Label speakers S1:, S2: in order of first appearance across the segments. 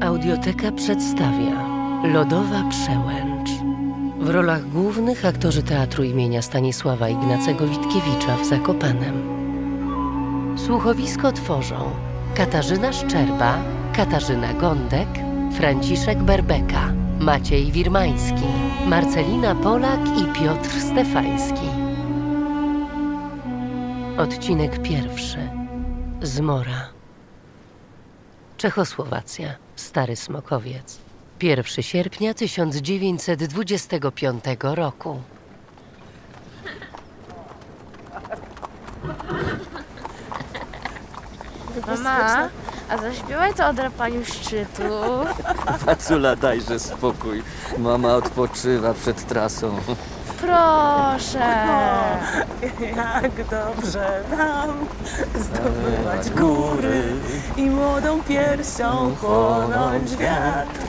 S1: Audioteka przedstawia Lodowa Przełęcz. W rolach głównych aktorzy teatru imienia Stanisława Ignacego Witkiewicza w Zakopanem. Słuchowisko tworzą Katarzyna Szczerba, Katarzyna Gądek, Franciszek Berbeka, Maciej Wirmański, Marcelina Polak i Piotr Stefański. Odcinek pierwszy. Zmora. Czechosłowacja, Stary Smokowiec. 1 sierpnia 1925 roku.
S2: Mama, a zaśpiewaj to o drapaniu szczytu.
S3: Cula, dajże spokój. Mama odpoczywa przed trasą.
S2: Proszę.
S4: Jak dobrze nam zdobywać
S3: Zdobywać
S4: góry
S3: góry
S4: i młodą piersią chłonąć wiatr.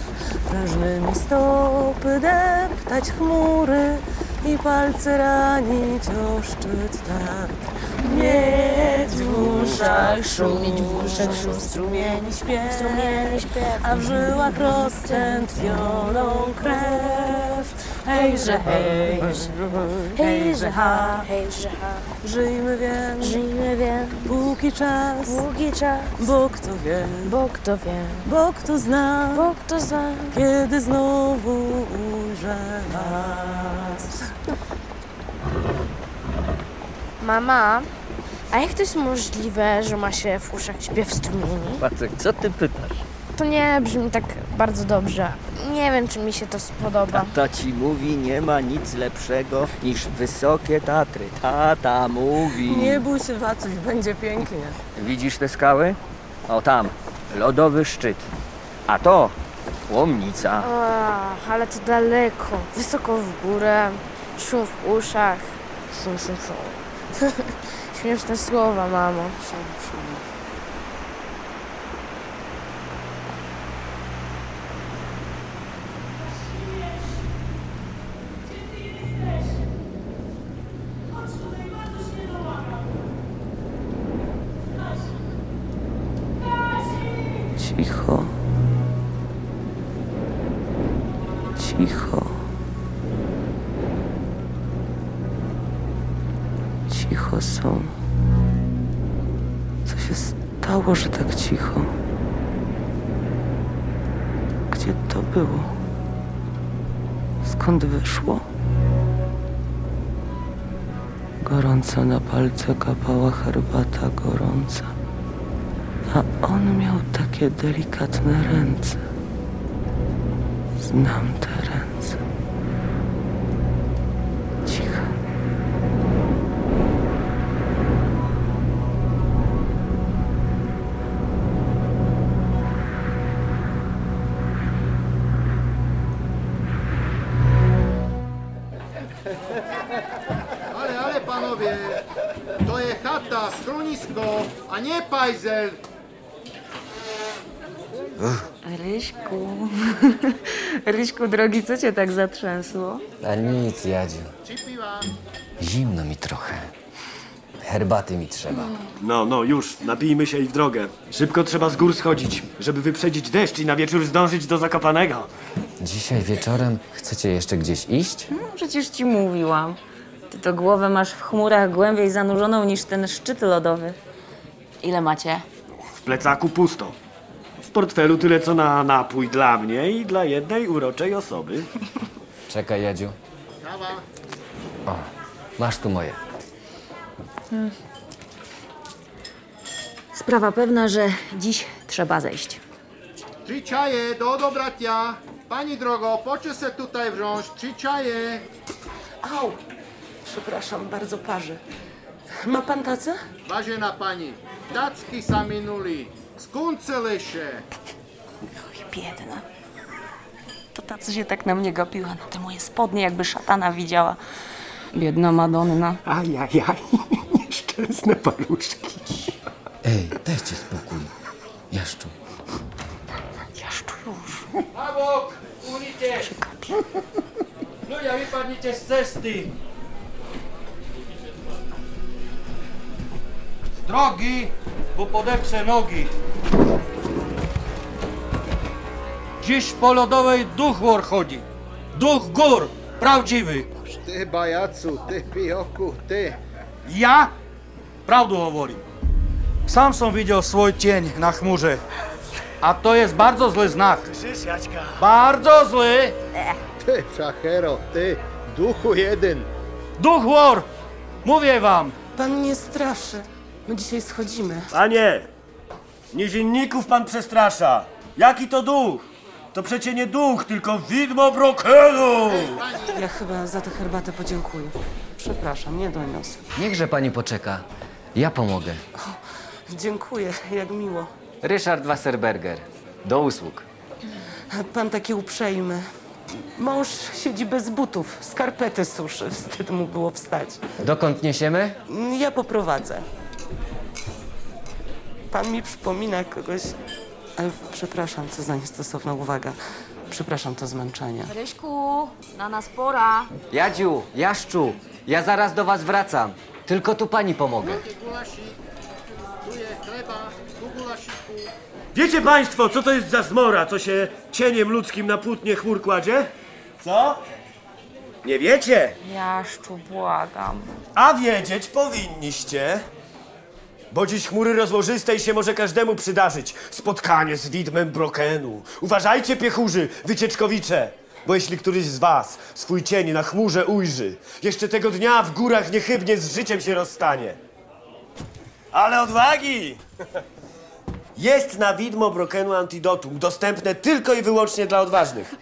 S4: Prężnymi stopy deptać chmury i palce ranić o szczyt Tatr. Mieć w uszach szum, mieć w uszach szum, strumieni śpiew, a w żyłach roztętnioną krew. Hejże, hej, hejże, ha,
S2: Hejże, ha.
S4: żyjmy więc,
S2: Żyjmy więc
S4: póki czas,
S2: długi czas.
S4: bo kto wie,
S2: Bóg to wie,
S4: bo kto zna,
S2: Bóg to zna.
S4: kiedy znowu ujrze nas.
S2: Mama, a jak to jest możliwe, że ma się w uszach śpiew strumieni?
S3: Patrz, co ty pytasz?
S2: To nie brzmi tak bardzo dobrze. Nie wiem, czy mi się to spodoba.
S3: Tata ci mówi, nie ma nic lepszego niż wysokie Tatry. Tata mówi.
S4: Nie bój się, Wacuś, będzie pięknie.
S3: Widzisz te skały? O tam, lodowy szczyt. A to łomnica.
S2: Ach, ale to daleko, wysoko w górę, szum w uszach. Szum, szum, szum. Śmieszne słowa, mamo. Szum, szum.
S4: Cicho. Cicho. Cicho są. Co się stało, że tak cicho? Gdzie to było? Skąd wyszło? Gorąca na palce kapała herbata gorąca. A on miał takie delikatne ręce. Znam te ręce. Cicha.
S5: Ale, ale panowie, to jest chata, schronisko, a nie pajzel.
S6: Ryśku, Ryśku drogi, co cię tak zatrzęsło?
S7: A nic, Jadziu. Zimno mi trochę. Herbaty mi trzeba.
S8: No, no, już, napijmy się i w drogę. Szybko trzeba z gór schodzić, żeby wyprzedzić deszcz i na wieczór zdążyć do Zakopanego.
S7: Dzisiaj wieczorem chcecie jeszcze gdzieś iść?
S6: No, przecież ci mówiłam. Ty to głowę masz w chmurach głębiej zanurzoną niż ten szczyt lodowy. Ile macie?
S8: W plecaku pusto. W portfelu tyle co na napój dla mnie i dla jednej uroczej osoby.
S7: Czekaj, Jadziu. O, masz tu moje.
S6: Sprawa pewna, że dziś trzeba zejść.
S5: Trzy czaje do odobratia. Pani drogo, poczy se tutaj wrząż, trzy czaje.
S4: Au! Przepraszam, bardzo parzy. Ma pan tacę?
S5: Vážená pani, tacki sa minuli, skunce leše.
S6: Oj, biedna. To ta, co się tak na mnie gapiła, na te moje spodnie, jakby szatana widziała. Biedna Madonna.
S8: Ajajaj, nieszczęsne paluszki.
S7: Ej, dajcie spokój. Jaszczu.
S5: Na bok, unite. Ľudia, No, vypadnite z cesty. Drogi, bo podepse nogi.
S9: Dziś po lodowej duch wor chodzi. Duch gór, prawdziwy.
S5: Ty bajacu, ty pijoku, ty.
S9: Ja prawdę mówię. Samson widział swój cień na chmurze. A to jest bardzo zły znak.
S8: Słyszysz, Jaćka?
S9: Bardzo zły.
S5: Ty, szachero, ty, duchu jeden.
S9: Duch wor. Mówię wam.
S4: Pan nie straszy. My dzisiaj schodzimy.
S8: Panie! Nizinników pan przestrasza! Jaki to duch? To przecie nie duch, tylko widmo brokelu!
S4: Ja chyba za tę herbatę podziękuję. Przepraszam, nie doniosę.
S7: Niechże pani poczeka. Ja pomogę.
S4: Dziękuję, jak miło.
S7: Ryszard Wasserberger. Do usług.
S4: Pan taki uprzejmy. Mąż siedzi bez butów, skarpety suszy. Wstyd mu było wstać.
S7: Dokąd niesiemy?
S4: Ja poprowadzę. Pan mi przypomina kogoś. Ale przepraszam, co za niestosowna uwaga. Przepraszam to zmęczenie.
S6: Ryśku, na nas pora.
S7: Jadziu, Jaszczu, ja zaraz do was wracam. Tylko tu pani pomogę.
S5: Ty gulasik, tu jest chleba, tu gulasiku.
S8: Wiecie państwo, co to jest za zmora, co się cieniem ludzkim na płótnie chmur kładzie? Co? Nie wiecie?
S6: Jaszczu, błagam.
S8: A wiedzieć powinniście. Bo dziś chmury rozłożystej się może każdemu przydarzyć. Spotkanie z widmem Brokenu. Uważajcie, piechurzy, wycieczkowicze! Bo jeśli któryś z was swój cień na chmurze ujrzy, jeszcze tego dnia w górach niechybnie z życiem się rozstanie. Ale odwagi! Jest na widmo Brokenu antidotum, dostępne tylko i wyłącznie dla odważnych.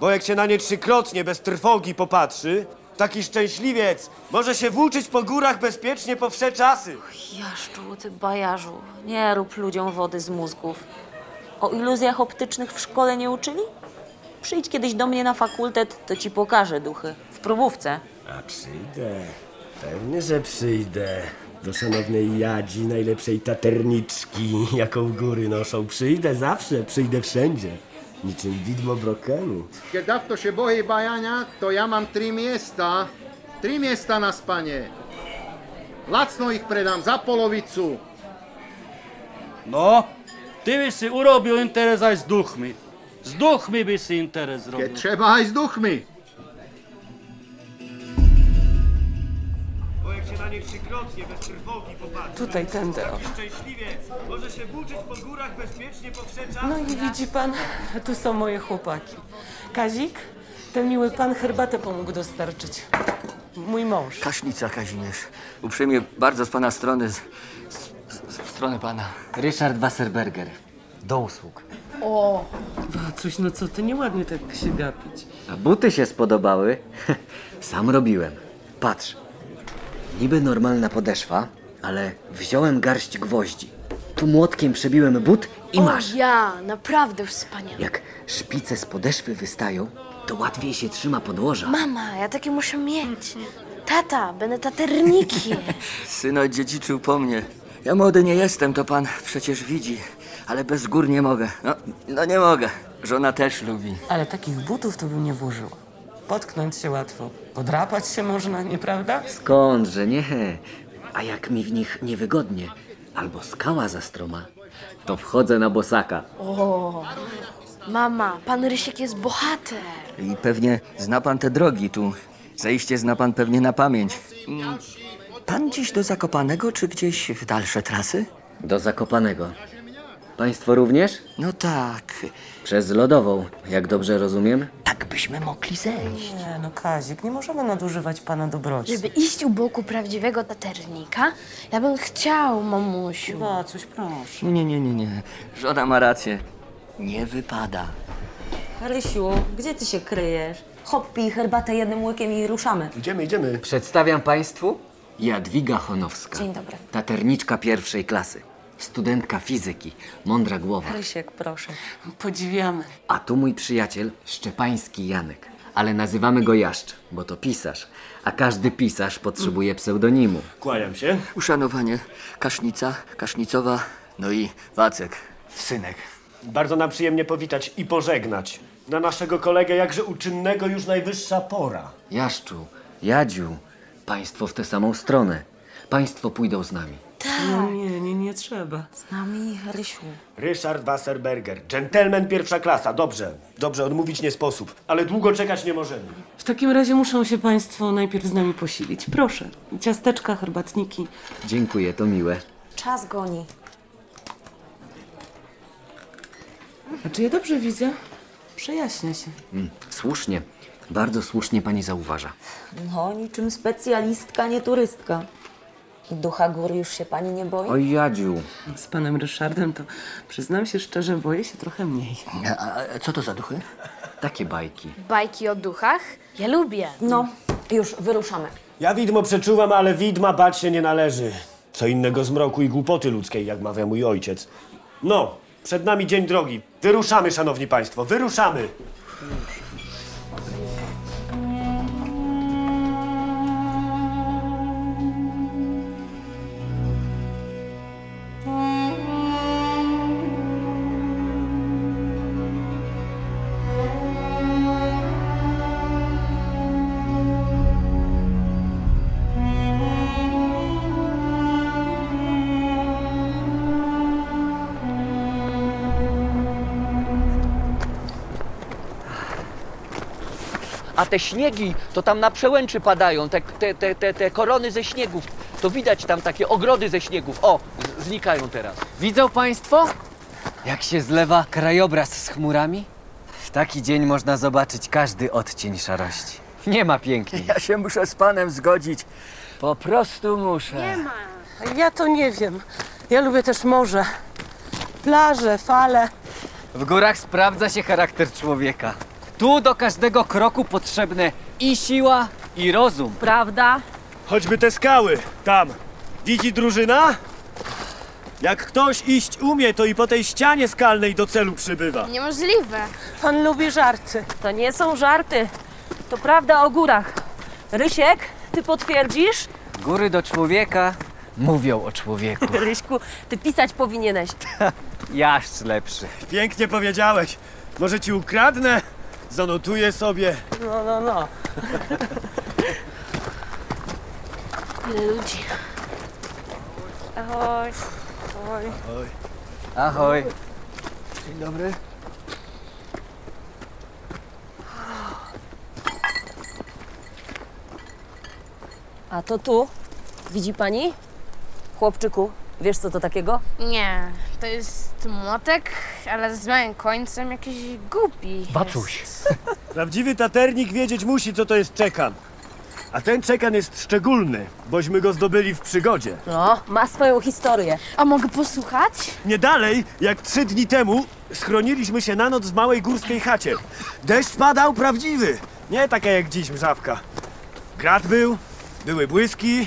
S8: Bo jak się na nie trzykrotnie bez trwogi popatrzy, taki szczęśliwiec może się włóczyć po górach bezpiecznie po wsze czasy.
S6: Jaszczu, ty bajarzu, nie rób ludziom wody z mózgów. O iluzjach optycznych w szkole nie uczyli? Przyjdź kiedyś do mnie na fakultet, to ci pokażę duchy. W próbówce.
S8: A przyjdę. Pewnie, że przyjdę. Do szanownej Jadzi, najlepszej taterniczki, jaką góry noszą. Przyjdę zawsze, przyjdę wszędzie. Niczym widmo brokenu.
S5: Kiedy dawno się boi bajania, to ja mam trzy miejsca. Trzy miejsca na spanie. Lacno ich predam za polovicu.
S9: No, ty byś si urobił interes aj z duchmi. Z duchmi by si interes
S5: Kiedy
S7: Mhm.
S9: zrobił.
S5: trzeba i z duchmi.
S8: Bo jak się na nie trzykrotnie bez trwogi popatrzy,
S4: Tutaj, tędy. O.
S8: szczęśliwiec może się włóczyć po górach bezpiecznie po wsze czasy.
S4: No i widzi pan, tu są moje chłopaki. Kazik, ten miły pan herbatę pomógł dostarczyć. Mój mąż.
S3: Kaśnica, Kazimierz. Uprzejmie bardzo z pana strony, z, z, z strony pana.
S7: Ryszard Wasserberger. Do usług.
S4: Wacuś, no co ty, nieładnie tak się gapić.
S7: A buty się spodobały. Sam robiłem. Patrz. Niby normalna podeszwa, ale wziąłem garść gwoździ. Tu młotkiem przebiłem but i masz.
S2: Ja, naprawdę wspaniale.
S7: Jak szpice z podeszwy wystają, to łatwiej się trzyma podłoża.
S2: Mama, ja takie muszę mieć. Tata, będę taternikiem.
S3: Syn odziedziczył po mnie. Ja młody nie jestem, to pan przecież widzi, ale bez gór nie mogę. No, no nie mogę. Żona też lubi.
S4: Ale takich butów to bym nie włożyła. Potknąć się łatwo, podrapać się można, nieprawda?
S7: Skądże nie? A jak mi w nich niewygodnie, albo skała za stroma, to wchodzę na bosaka.
S2: Mama, pan Rysiek jest bohater.
S3: I pewnie zna pan te drogi tu. Zejście zna pan pewnie na pamięć. Mm, Pan dziś do Zakopanego, czy gdzieś w dalsze trasy?
S7: Do Zakopanego. Państwo również?
S3: No tak,
S7: Przez lodową, jak dobrze rozumiem?
S3: tak byśmy mogli zejść.
S4: Nie, no Kazik, nie możemy nadużywać pana dobroci.
S2: Żeby iść u boku prawdziwego taternika, ja bym chciał, mamusiu.
S4: Wacuś, proszę.
S3: Nie, nie, nie, nie. Żona ma rację. Nie wypada.
S6: Rysiu, gdzie ty się kryjesz? Hop, pij herbatę jednym łykiem i ruszamy.
S8: Idziemy, idziemy.
S7: Przedstawiam Państwu Jadwiga Honowska.
S6: Dzień dobry.
S7: Taterniczka pierwszej klasy. Studentka fizyki. Mądra głowa.
S6: Rysiek, proszę.
S4: Podziwiamy.
S7: A tu mój przyjaciel Szczepański Janek. Ale nazywamy go Jaszcz, bo to pisarz. A każdy pisarz potrzebuje pseudonimu.
S8: Kłaniam się.
S3: Uszanowanie, kasznica, kasznicowa, no i Wacek, synek.
S8: Bardzo nam przyjemnie powitać i pożegnać. Na naszego kolegę jakże uczynnego już najwyższa pora.
S7: Jaszczu, Jadziu, państwo w tę samą stronę. Państwo pójdą z nami.
S2: Tak,
S4: No nie, nie, nie trzeba.
S6: Z nami Rysiu.
S8: Ryszard Wasserberger, dżentelmen pierwsza klasa, dobrze. Dobrze, odmówić nie sposób, ale długo czekać nie możemy.
S4: W takim razie muszą się Państwo najpierw z nami posilić. Proszę, ciasteczka, herbatniki.
S7: Dziękuję, to miłe.
S6: Czas goni.
S4: A czy ja dobrze widzę? Przejaśnia się.
S7: Słusznie, bardzo słusznie pani zauważa.
S6: No, niczym specjalistka, nie turystka. I ducha góry już się pani nie boi?
S7: Oj, Jadziu.
S4: Z panem Ryszardem to przyznam się szczerze, boję się trochę mniej.
S3: A, a co to za duchy?
S7: Takie bajki.
S2: Bajki o duchach? Ja lubię.
S6: No, już, wyruszamy.
S8: Ja widmo przeczuwam, ale widma bać się nie należy. Co innego zmroku i głupoty ludzkiej, jak mawia mój ojciec. No, przed nami dzień drogi. Wyruszamy, szanowni państwo, wyruszamy!
S10: A te śniegi to tam na przełęczy padają, te, te, te, te, te korony ze śniegów. To widać tam takie ogrody ze śniegów. O, z- znikają teraz.
S7: Widzą państwo? Jak się zlewa krajobraz z chmurami? W taki dzień można zobaczyć każdy odcień szarości. Nie ma piękniej.
S3: Ja się muszę z panem zgodzić. Po prostu muszę.
S4: Ja to nie wiem. Ja lubię też morze. Plaże, fale.
S7: W górach sprawdza się charakter człowieka. Tu do każdego kroku potrzebne i siła, i rozum.
S6: Prawda?
S8: Choćby te skały, tam. Widzi drużyna? Jak ktoś iść umie, to i po tej ścianie skalnej do celu przybywa.
S2: Niemożliwe.
S4: Pan lubi żarty.
S6: To nie są żarty. To prawda o górach. Rysiek, ty potwierdzisz?
S7: Góry do człowieka mówią o człowieku.
S6: Ryśku, ty pisać powinieneś.
S7: Jaż lepszy.
S8: Pięknie powiedziałeś. Może ci ukradnę? Zanotuję sobie.
S4: No, no, no.
S2: Ile ludzi.
S4: Ahoj. Ahoj.
S7: Ahoj.
S3: Dzień dobry.
S6: A to tu? Widzi pani? Chłopczyku, wiesz co to takiego?
S2: Nie, to jest młotek, ale z małym końcem jakiś głupi.
S10: Bacuś.
S8: Prawdziwy taternik wiedzieć musi, co to jest czekan. A ten czekan jest szczególny, bośmy go zdobyli w przygodzie.
S6: No, ma swoją historię.
S2: A mogę posłuchać?
S8: Nie dalej, jak trzy dni temu schroniliśmy się na noc w małej górskiej chacie. Deszcz padał prawdziwy, nie taka jak dziś mrzawka. Grad był, były błyski,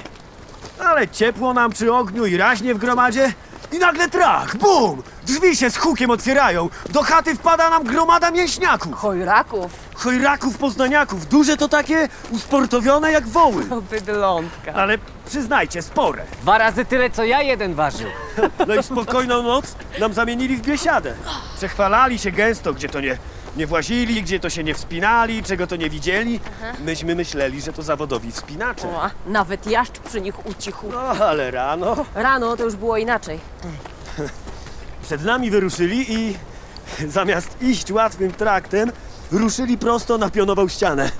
S8: ale ciepło nam przy ogniu i raźnie w gromadzie. I nagle trach, bum! Drzwi się z hukiem otwierają, do chaty wpada nam gromada mięśniaków.
S6: Chojraków.
S8: Chojraków poznaniaków, duże to takie, usportowione jak woły.
S4: Bydlątka.
S8: Ale przyznajcie, spore.
S7: Dwa razy tyle, co ja jeden ważył.
S8: No i spokojną noc nam zamienili w biesiadę. Przechwalali się gęsto, gdzie to nie, nie włazili, gdzie to się nie wspinali, czego to nie widzieli. Myśmy myśleli, że to zawodowi wspinacze.
S6: O, nawet jaszcz przy nich ucichł.
S8: No ale rano
S6: Rano to już było inaczej.
S8: przed nami wyruszyli i zamiast iść łatwym traktem, ruszyli prosto na pionową ścianę.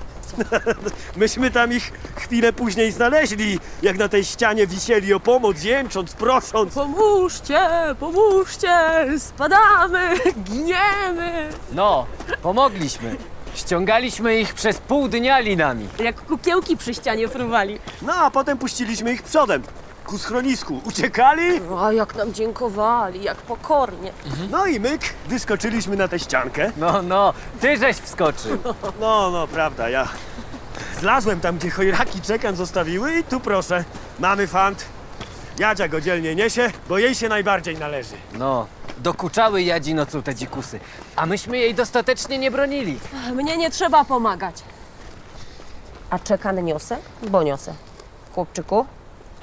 S8: Myśmy tam ich chwilę później znaleźli, jak na tej ścianie wisieli o pomoc, jęcząc, prosząc.
S6: Pomóżcie, pomóżcie, spadamy, giniemy.
S7: No, pomogliśmy. Ściągaliśmy ich przez pół dnia linami.
S6: Jak kukiełki przy ścianie fruwali.
S8: No a potem puściliśmy ich przodem, ku schronisku. Uciekali,
S6: A jak nam dziękowali, jak pokornie.
S8: No i myk, wyskoczyliśmy na tę ściankę.
S7: No, no, ty żeś wskoczył.
S8: No, no, prawda, ja zlazłem tam, gdzie chojraki czekan zostawiły i tu proszę, mamy fant. Jadzia go dzielnie niesie, bo jej się najbardziej należy.
S7: No, dokuczały jadzi nocą te dzikusy. A myśmy jej dostatecznie nie bronili.
S6: Mnie nie trzeba pomagać. A czekan niosę? Bo niosę. Chłopczyku,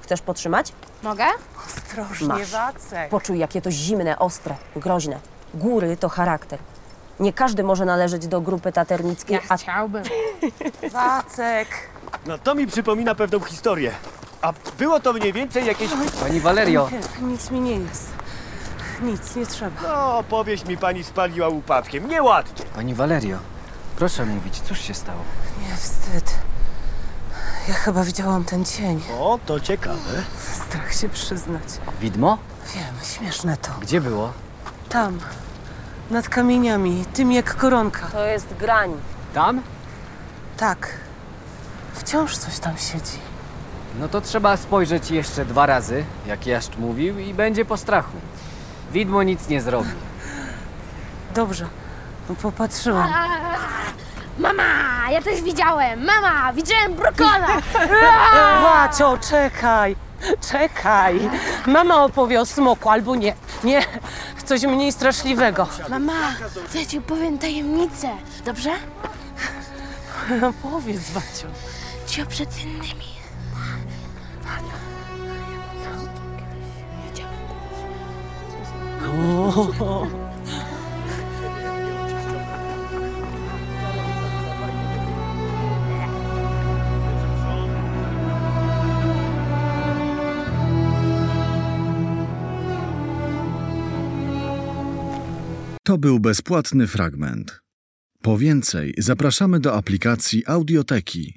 S6: chcesz potrzymać?
S2: Mogę?
S6: Masz.
S4: Ostrożnie, Wacek.
S6: Poczuj, jakie to zimne, ostre, groźne. Góry to charakter. Nie każdy może należeć do grupy taternickiej, a
S2: chciałbym.
S4: Wacek.
S8: No to mi przypomina pewną historię. A było to mniej więcej jakieś...
S10: Pani Valerio.
S4: Nic mi nie jest. Nic, nie trzeba.
S8: No, opowieść mi pani spaliła łupawkiem. Nieładnie.
S7: Pani Valerio, proszę mówić, cóż się stało?
S4: Nie wstyd. Ja chyba widziałam ten cień.
S8: O, to ciekawe.
S4: Strach się przyznać.
S7: Widmo?
S4: Wiem, śmieszne to.
S7: Gdzie było?
S4: Tam, nad kamieniami, tym jak koronka.
S6: To jest grań.
S7: Tam?
S4: Tak. Wciąż coś tam siedzi.
S7: No to trzeba spojrzeć jeszcze dwa razy, jak Jaszcz mówił, i będzie po strachu. Widmo nic nie zrobi.
S4: Dobrze, No, popatrzyłam.
S2: Mama, ja też widziałem. Mama, widziałem brokona.
S4: Łacio, czekaj, czekaj. Mama opowie o smoku albo nie. Nie, coś mniej straszliwego.
S2: Mama, to ja ci opowiem tajemnicę, dobrze?
S4: Powiedz, Wacio.
S2: Cio przed innymi.
S11: To był bezpłatny fragment. Po więcej zapraszamy do aplikacji Audioteki.